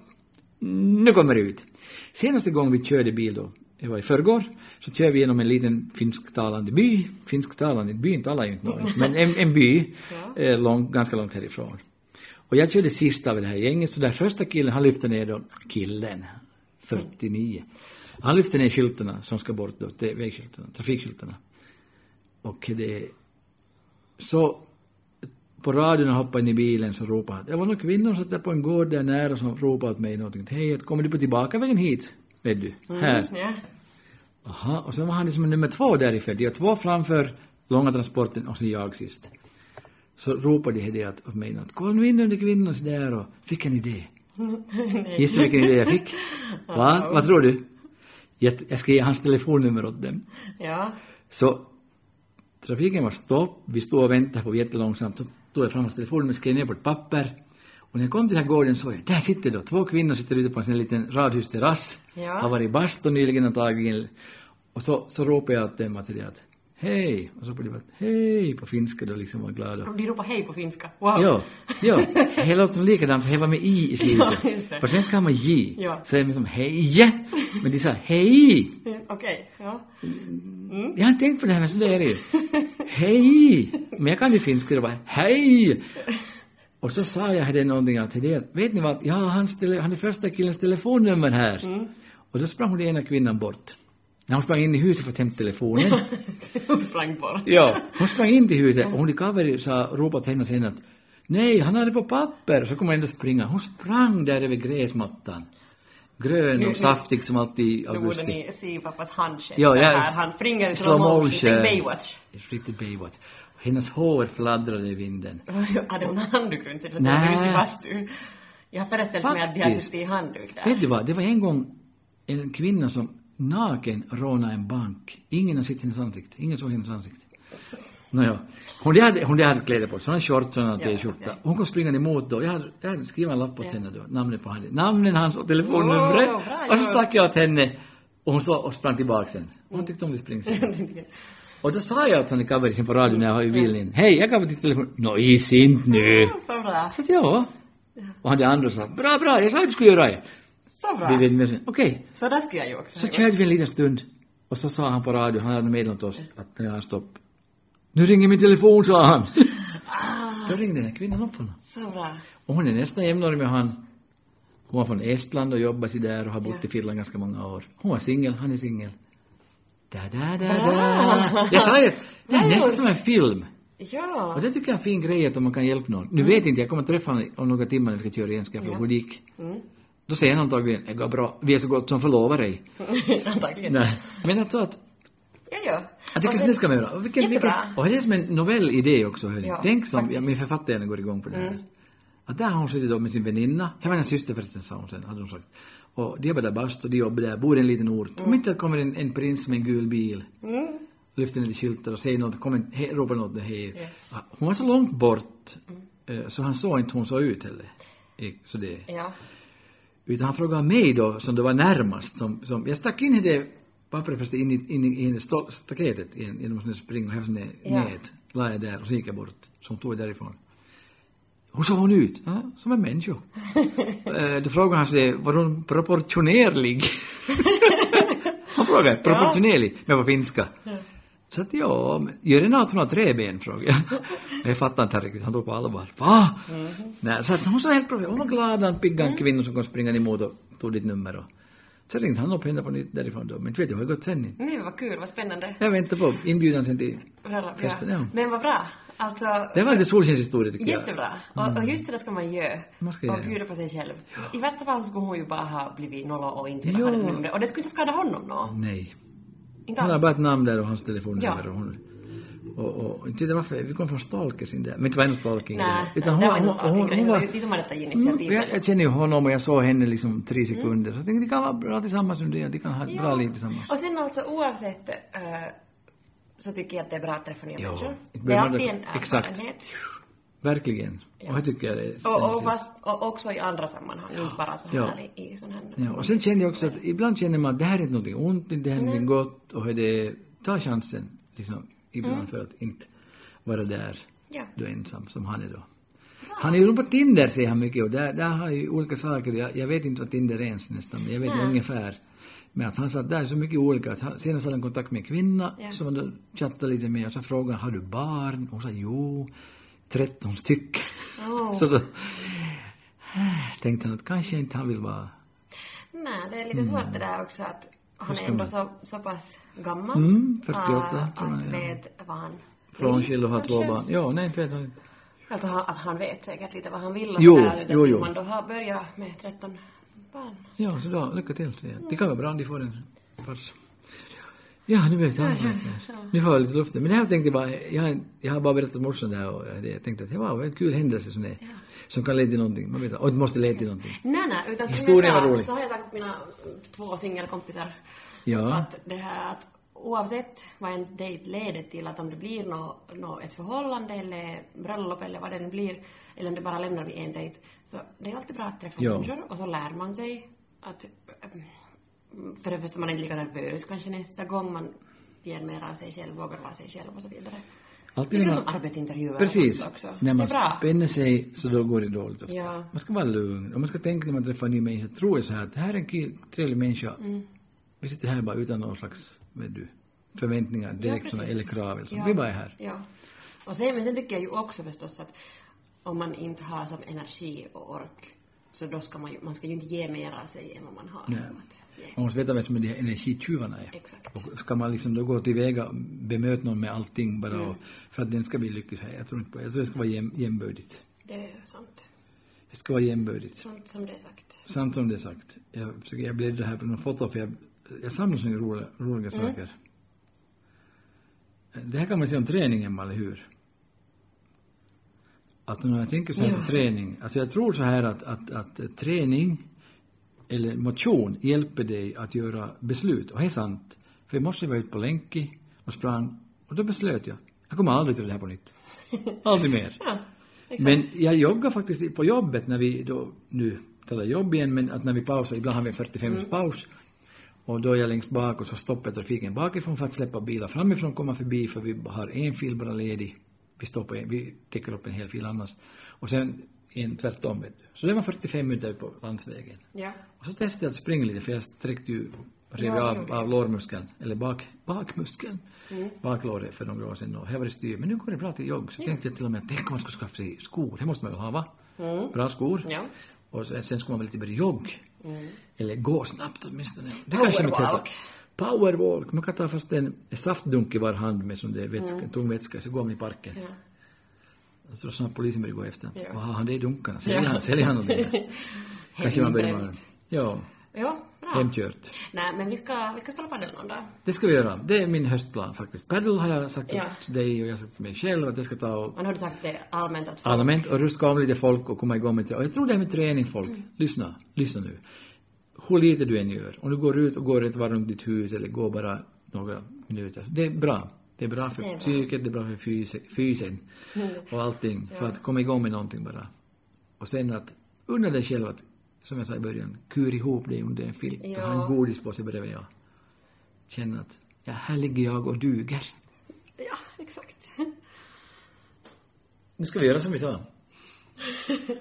S1: Nu kommer det ut. Senaste gången vi körde bil då, det var i förrgår, så körde vi genom en liten finsktalande by. Finsktalande byn talar ju inte något, men en, en by, eh, lång, ganska långt härifrån. Och jag körde sist av det här gänget, så den första killen, han lyfte ner då, killen, 49. Han lyfte ner skyltarna som ska bort då, till vägskyltarna, trafikskyltarna. Och det, så på radion och hoppade in i bilen så ropade han. Det var några kvinnor som satt på en gård där nära som ropade åt mig någonting. Hej, att kommer du på tillbaka vägen hit? Vet du?
S2: Mm.
S1: Här.
S2: Ja.
S1: Aha, och sen var han liksom nummer två därifrån. Det var två framför långa transporten och sen jag sist. Så ropade de det att- åt mig att kolla nu in under kvinnorna så där och fick en idé. Gissa vilken idé jag fick? Va? Vad tror du? Jag, jag ska ge hans telefonnummer åt dem.
S2: ja.
S1: Så trafiken var stopp, vi stod och väntade på jättelångsamt. Så tog jag fram hans telefonnummer, skrev ner på ett papper. Och när jag kom till den här gården såg jag, där sitter då två kvinnor sitter ute på en sån här liten radhusterrass.
S2: Ja.
S1: Har varit i bastu nyligen antagligen. Och så, så ropade jag åt dem att, det att hej, och så blev det hej på finska då liksom var glada.
S2: De ropar hej på finska. Wow.
S1: Ja, ja. Det låter som likadant, så det var med i i slutet.
S2: Ja, just det.
S1: på svenska har man j.
S2: Ja.
S1: Så är det som hej, men de sa hej.
S2: Eh, Okej. Ja.
S1: Jag har inte tänkt på det här, men så det är det ju. Hej! Men jag kan ju finska, det var hej! Och så sa jag henne någonting att det, är- vet ni vad, jag har hans tele, han är första killens telefonnummer här. Och då sprang hon den ena kvinnan bort. När hon sprang in i huset för att hämta telefonen.
S2: De sprang bort.
S1: ja. Hon sprang in till huset och hon i kaveri sa, ropade till henne sen att nej, han har det på papper. Så kom hon ändå springa. Hon sprang där över gräsmattan. Grön och saftig som alltid i
S2: Nu borde
S1: augusti.
S2: ni se pappas handgest
S1: Ja, jag-
S2: här. Han springer i
S1: slow
S2: slow motion.
S1: motion.
S2: Tänk Baywatch.
S1: Riktigt Baywatch. Hennes hår fladdrade i vinden.
S2: Hade hon handduk runt sig?
S1: Nej.
S2: Nej. Just i bastun. Jag har föreställt mig att de har
S1: Faktiskt.
S2: suttit i handduk där.
S1: Vet du vad, det var en gång en kvinna som naken rånade en bank. Ingen har sett hennes ansikte. Ingen såg hennes ansikte. Nåja. Hon där hade, hon där hade kläder på sig. Hon hade shorts och en
S2: Ja,
S1: t-skjorta. Hon kom springande emot då. Jag hade, jag hade skrivit en lapp åt henne då. Namnet på henne. Namnen hans och telefonnumret.
S2: Wow, bra
S1: och så
S2: jobbat.
S1: stack jag åt henne. Och hon, så, och sprang tillbaka sen. Hon tyckte om det springsen. Och då sa jag åt henne kaverisen på radion när jag var i bilen. in. Hej, jag gav ditt telefon. Nå, is inte nu.
S2: Så bra.
S1: Så att ja. Och han det andra sa, bra, bra, jag sa att du skulle göra det.
S2: Så bra.
S1: Vi vet inte mer. Okej,
S2: Så där skulle jag ju också
S1: så
S2: ha gjort.
S1: körde vi en liten stund. Och så sa han på radio, han hade meddelat oss att nu är han stopp. Nu ringer min telefon, sa han. Då ringde den här kvinnan upp honom.
S2: Så bra.
S1: Och hon är nästan jämnårig med han. Hon var från Estland och jobbar sig där och har bott i
S2: Ja.
S1: Finland ganska många år. Hon var singel, han är singel. Da, da, da, da. Jag sa det, det är
S2: Bra
S1: nästan
S2: gjort.
S1: som en film.
S2: Ja.
S1: Och det tycker jag är en fin grej att om man kan hjälpa någon. Nu vet inte, jag kommer att träffa honom om några timmar när vi ska köra igen, ska jag fråga hur det gick. Då säger han antagligen, det går bra, vi är så gott som förlovar dig.
S2: Antagligen.
S1: Nej. Men alltså att,
S2: Ja, ja.
S1: jag tycker
S2: Och
S1: så
S2: sen-
S1: det ska man göra. Och, vilken, vilken,
S2: Jättebra.
S1: och det är som en novellidé också, hörni.
S2: Ja, Mm.
S1: Tänk som, ja, min författare går igång på det här. Att där har hon suttit då med sin väninna, det var hennes syster förresten, sa hon sen, hade hon sagt. Och de jobbar där bast och de jobbar där, bor i en liten ort.
S2: Mm.
S1: Om inte det kommer en, en prins med en gul bil, lyfter lite skyltar och säger något, kommer, en- he, ropar något, hej. Hon var så långt bort,
S2: Mm.
S1: eh, så han såg inte hur hon såg ut heller. Eh, Så det.
S2: Ja.
S1: Utan han frågade mig då, som det var närmast, som, som jag stack in i det pappret först in i, in i, in i stol- staketet igen, genom att springa och hävda ner
S2: Ja.
S1: nät. La jag där och så gick jag bort. Så hon tog därifrån. Hur såg hon ut? Ja, som en människa. Eh, då frågade han så det, var hon proportionerlig? han frågade, proportionerlig, men på finska. Så att ja, men gör det något att hon har tre ben, frågade jag. Men jag fattade inte riktigt, han tog på allvar. Va?
S2: Mhm.
S1: Nej, så att hon sa helt plötsligt, hon var glad, han piggade en
S2: Mm.
S1: kvinna som kom springande emot och tog ditt nummer. Och. Så ringde han upp henne på nytt därifrån då, men inte vet jag hur det gått sen. inte.
S2: Nej, vad kul. Vad spännande.
S1: Jag väntar på inbjudan sen till
S2: Bra, bra.
S1: festen. Ja.
S2: Men vad bra. Alltså,
S1: Det var lite solskenshistoria tycker jag.
S2: jättebra. Och, och just det där ska man göra.
S1: Mm. Man ska göra
S2: och
S1: det.
S2: bjuda på sig själv. I värsta fall så skulle hon ju bara ha blivit nolla och inte vilja ha
S1: Ja.
S2: det numret. Och det skulle inte skada honom nå.
S1: Nej.
S2: Inte
S1: Hon har
S2: alls.
S1: bara ett namn där och hans telefonnummer.
S2: Ja.
S1: Och hon, och, och, inte vet jag varför, vi kom från stalkers in där. Men det var en stalking i det här.
S2: Nej, det var inte stalking. Det var ju de som hade tagit initiativet. Mm.
S1: Mm, jag, jag känner ju honom och jag såg henne liksom tre sekunder. Så jag tänkte, de kan vara bra tillsammans nu. De kan ha ett bra liv tillsammans.
S2: Och sen alltså oavsett eh, så tycker jag att det är bra att träffa nya
S1: Ja.
S2: människor.
S1: Inte
S2: Det är
S1: behöver
S2: alltid
S1: man-
S2: en
S1: Exakt.
S2: erfarenhet.
S1: Verkligen. Och det tycker jag det är
S2: Och, och,
S1: spännande.
S2: fast, och också i andra sammanhang, inte bara så
S1: Ja.
S2: här i, i sån här...
S1: Ja, och sen känner jag också att ibland känner man att det här är inte någonting ont, inte det här är
S2: Mm.
S1: någonting gott och hur det är, ta chansen liksom ibland för att inte vara där
S2: Mm. Ja.
S1: du är ensam som han är då. Han är ju nog på Tinder säger han mycket och där, där har ju olika saker, jag, jag vet inte vad Tinder är ens nästan, men jag vet ungefär. Men att han sa att där är så mycket olika, att han, senast hade han kontakt med en kvinna
S2: Ja.
S1: som han då chattade lite med och så frågade han, har du barn? Och hon sa jo, 13 stycken.
S2: Åh.
S1: så då tänkte han att kanske inte han vill vara
S2: Nej, det är lite
S1: Mm.
S2: svårt det där också att han är ändå så, så pass gammal. Eh,
S1: Mm, 48 tror
S2: att
S1: jag, ja.
S2: vet vad han...
S1: Frånskild och har två barn. Ja, nej, inte vet jag inte.
S2: Alltså han, att han vet säkert lite vad han vill och
S1: Jo,
S2: sådär.
S1: jo, jo.
S2: Om man då har börjat med 13 barn.
S1: Ja, så då, lycka till. säger jag. Det kan vara bra om de får en pars. Ja, nu blev det allvarligt. Nu får jag lite luften. Men det här tänkte jag bara, jag, har- jag har bara berättat för morsan det här och jag tänkte att det var en kul händelse som det är. Som kan leda till någonting. Man vet och det måste leda till någonting.
S2: Nej, nej, utan som
S1: Historien var
S2: jag sa,
S1: rolig.
S2: så har jag sagt till mina två singelkompisar
S1: Ja.
S2: att det här att oavsett vad en dejt leder till, att om det blir nå nå ett förhållande eller bröllop eller vad det nu blir, eller om det bara lämnar vid en dejt, så det är alltid bra att träffa
S1: Ja.
S2: människor och så lär man sig att ähm, för det första man är inte lika nervös kanske nästa gång, man ger mer av sig själv, vågar vara sig själv och så vidare.
S1: Alltid
S2: det är
S1: när
S2: ju
S1: man-
S2: som arbetsintervjuer och
S1: Precis.
S2: sånt också.
S1: När man
S2: det är bra.
S1: spänner sig så då går det dåligt ofta.
S2: Ja.
S1: Man ska vara lugn. Och man ska tänka när man träffar en ny människa, tror jag så här att det här är en kul, trevlig människa.
S2: Mm.
S1: Vi sitter här bara utan någon slags, vet du, förväntningar direkt
S2: Ja,
S1: såna, eller
S2: precis.
S1: krav. Eller så.
S2: Ja.
S1: Vi bara är här.
S2: Ja. Och sen, men sen tycker jag ju också förstås att om man inte har som energi och ork så då ska man ju, man ska ju inte ge mer av sig än vad man har.
S1: Nej.
S2: Att ge.
S1: Man måste veta vem som är de här energitjuvarna är.
S2: Exakt.
S1: Och ska man liksom då gå tillväga och bemöta någon med allting bara och, för att den ska bli lycklig. så här, Jag tror inte på det. Jag tror det ska vara jäm, jämbördigt.
S2: Det är ju sant.
S1: Det ska vara jämbördigt.
S2: Sånt som det är sagt.
S1: Sant som det är sagt. Jag, försöker- jag bläddrar här på några foto för jag, jag samlar såna roliga, roliga saker. Det här kan man säga om träning, Emma, eller hur? Att när jag tänker så här på träning, alltså jag tror så här att, att, att eh, träning eller motion hjälper dig att göra beslut. Och det är sant. För i morse var jag ute på Länki och sprang och då beslöt jag. Jag kommer aldrig till det här på nytt. Aldrig mer. Men jag joggar faktiskt på jobbet när vi då, nu talar jag jobb igen, men att när vi pausar, ibland har vi en 45 minuters paus. Och då är jag längst bak och så stoppar trafiken bakifrån för att släppa bilar framifrån komma förbi för vi har en fil bara ledig. Vi stoppar en, vi täcker upp en hel fil annars. Och sen en tvärtom. vet du. Så det var 45 minuter på landsvägen.
S2: Ja.
S1: Och så testade jag att springa lite för jag sträckte ju rev
S2: Ja,
S1: av,
S2: gjorde
S1: av lårmuskeln, eller bak, bakmuskeln,
S2: Mm.
S1: baklåret för några år sedan och här var det styr. Men nu går det bra till jogg. Så tänkte jag till och med, tänk om man skulle skaffa sig skor, det måste man väl ha va? Bra skor.
S2: Mm. Ja. Mm.
S1: Och sen, sen skulle man väl lite börja jogg. Eller gå snabbt åtminstone. Det
S2: Powerwalk.
S1: Powerwalk. Man kan ta fast en saftdunk i var hand med som det är vätska, tung vätska, så går man i parken.
S2: Mm. ja.
S1: Så snart polisen börjar gå efter.
S2: Ja.
S1: Vad har han det i dunkarna? Säljer
S2: Ja.
S1: han, säljer han någonting? Kanske man börjar vara...
S2: Hembränt.
S1: Ja,
S2: Ja, bra.
S1: hemkört.
S2: Nej, men vi ska, vi ska spela padel någon dag.
S1: Det ska vi göra. Det är min höstplan faktiskt. Paddle har jag sagt
S2: Ja.
S1: åt dig och jag har sagt till mig själv att jag ska ta och
S2: Man har du sagt det allmänt att
S1: allmänt och ruska om lite folk och komma igång med det. Och jag tror det här med träning folk,
S2: Mm.
S1: lyssna, lyssna nu. Hur lite du än gör, om du går ut och går ett varv runt ditt hus eller går bara några minuter. Det är bra. Det är bra för
S2: Det är bra. Mm.
S1: psyket, det är bra för fyse- fysen och allting. För att komma igång med någonting bara. Och sen att unna dig själv att, som jag sa i början, kur ihop dig under en filt
S2: Ja.
S1: och ha en godispåse bredvid jag. Känna att, ja, här ligger jag och duger.
S2: Ja, exakt.
S1: Nu ska vi göra som vi sa.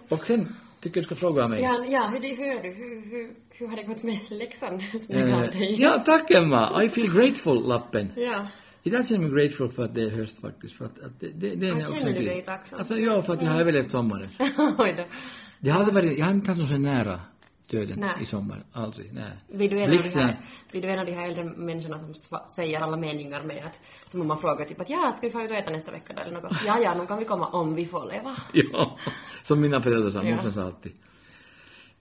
S1: Och sen tycker jag du ska fråga mig.
S2: Ja, ja hur, det- hur är du? Hur, hur, hur har det gått med läxan som jag gav
S1: Eh,
S2: dig?
S1: ja, tack Emma! I feel grateful-lappen.
S2: Ja.
S1: Idag känner jag mig grateful för att det är höst faktiskt. För att, att det, det, det är en
S2: Ja, känner
S1: absolut
S2: du
S1: grej.
S2: dig tacksam? Mm.
S1: Alltså, ja, för att jag har överlevt sommaren.
S2: Oj då.
S1: Det hade varit, jag har inte haft någon så nära döden
S2: Nej.
S1: i sommar. Aldrig. Nej.
S2: Blir du, en av de
S1: Blixten.
S2: här, blir du en av de här äldre människorna som sva- säger alla meningar med att, som om man frågar typ att ja, ska vi få ut och äta nästa vecka då eller något? Ja, ja, nu kan vi komma om vi får leva.
S1: Ja, som mina föräldrar sa,
S2: Ja.
S1: morsan sa alltid.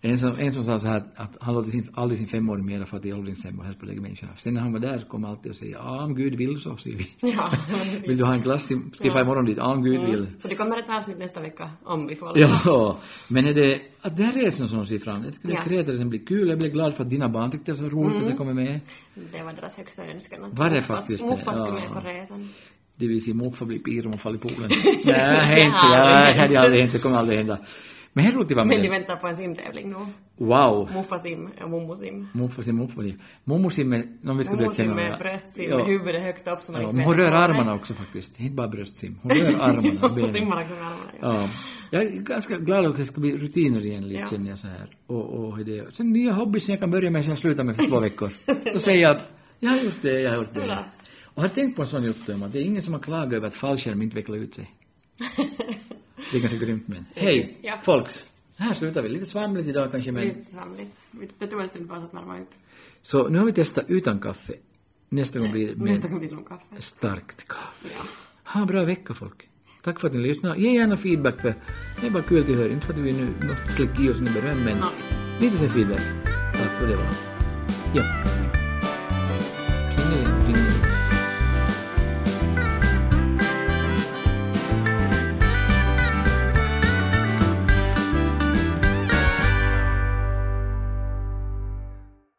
S1: En som, en som sa så här att han låter sin, aldrig sin femåring mera för att det är åldringshem och helst på människorna. Sen när han var där så kom han alltid och säga, ja om Gud vill så, säger vi.
S2: Ja, precis.
S1: Vill du ha en glass till, till
S2: Ja.
S1: ja. imorgon dit? Ja, om Gud vill.
S2: Så det kommer ett avsnitt nästa vecka om vi får leva.
S1: Ja, men är det, att det här resan som ser fram, jag tycker
S2: Ja. Mm.
S1: det ja. resan blir kul, jag blir glad för att dina barn tyckte det var så roligt att jag kommer med.
S2: Det var deras högsta önskan. att
S1: Var det
S2: morfar-
S1: faktiskt det?
S2: Morfar skulle
S1: Ja.
S2: med på resan.
S1: Det vill säga morfar blir pir om hon faller i poolen. Nej, inte, nej, det hade aldrig hänt, det kommer aldrig hända. Men här är roligt att vara
S2: Men de
S1: med.
S2: väntar på en simtävling nu.
S1: Wow.
S2: Muffasim eh, och mummusim.
S1: Morfars morfar. Mormorsim med, om vi ska berätta
S2: Mummusim
S1: senare.
S2: med bröstsim,
S1: Ja.
S2: med huvudet liksom. högt upp så man
S1: Ja,
S2: inte
S1: men
S2: vet
S1: hon rör
S2: vad det är.
S1: armarna också faktiskt. Inte bara bröstsim. Hon rör armarna. och
S2: Hon
S1: benen.
S2: simmar också med armarna. Ja.
S1: Ja. Jag är ganska glad att det ska bli rutiner igen lite
S2: Ja.
S1: känner jag så här. Och, och det. Sen nya hobby som jag kan börja med som jag slutar med för två veckor. Då säger jag att jag har gjort det, jag har gjort det.
S2: Bra.
S1: Och har tänkt på en sån gjort att det är ingen som har klagat över att fallskärm inte vecklar ut sig. Det är ganska grymt men. Hej,
S2: Ja.
S1: folks! Här slutar vi. Lite svamligt idag kanske men.
S2: Lite svamligt. Det tog en stund bara så att värma upp.
S1: Så nu har vi testat utan kaffe. Nästa gång blir det med
S2: Nästa gång blir det nog kaffe.
S1: starkt kaffe.
S2: Ja.
S1: Ha en bra vecka folk. Tack för att ni lyssnade. Ge gärna feedback för det är bara kul att ni hör. Inte för att vi nu måste släcka i oss något beröm men
S2: Ja.
S1: lite sen feedback. Att hur det var. Ja.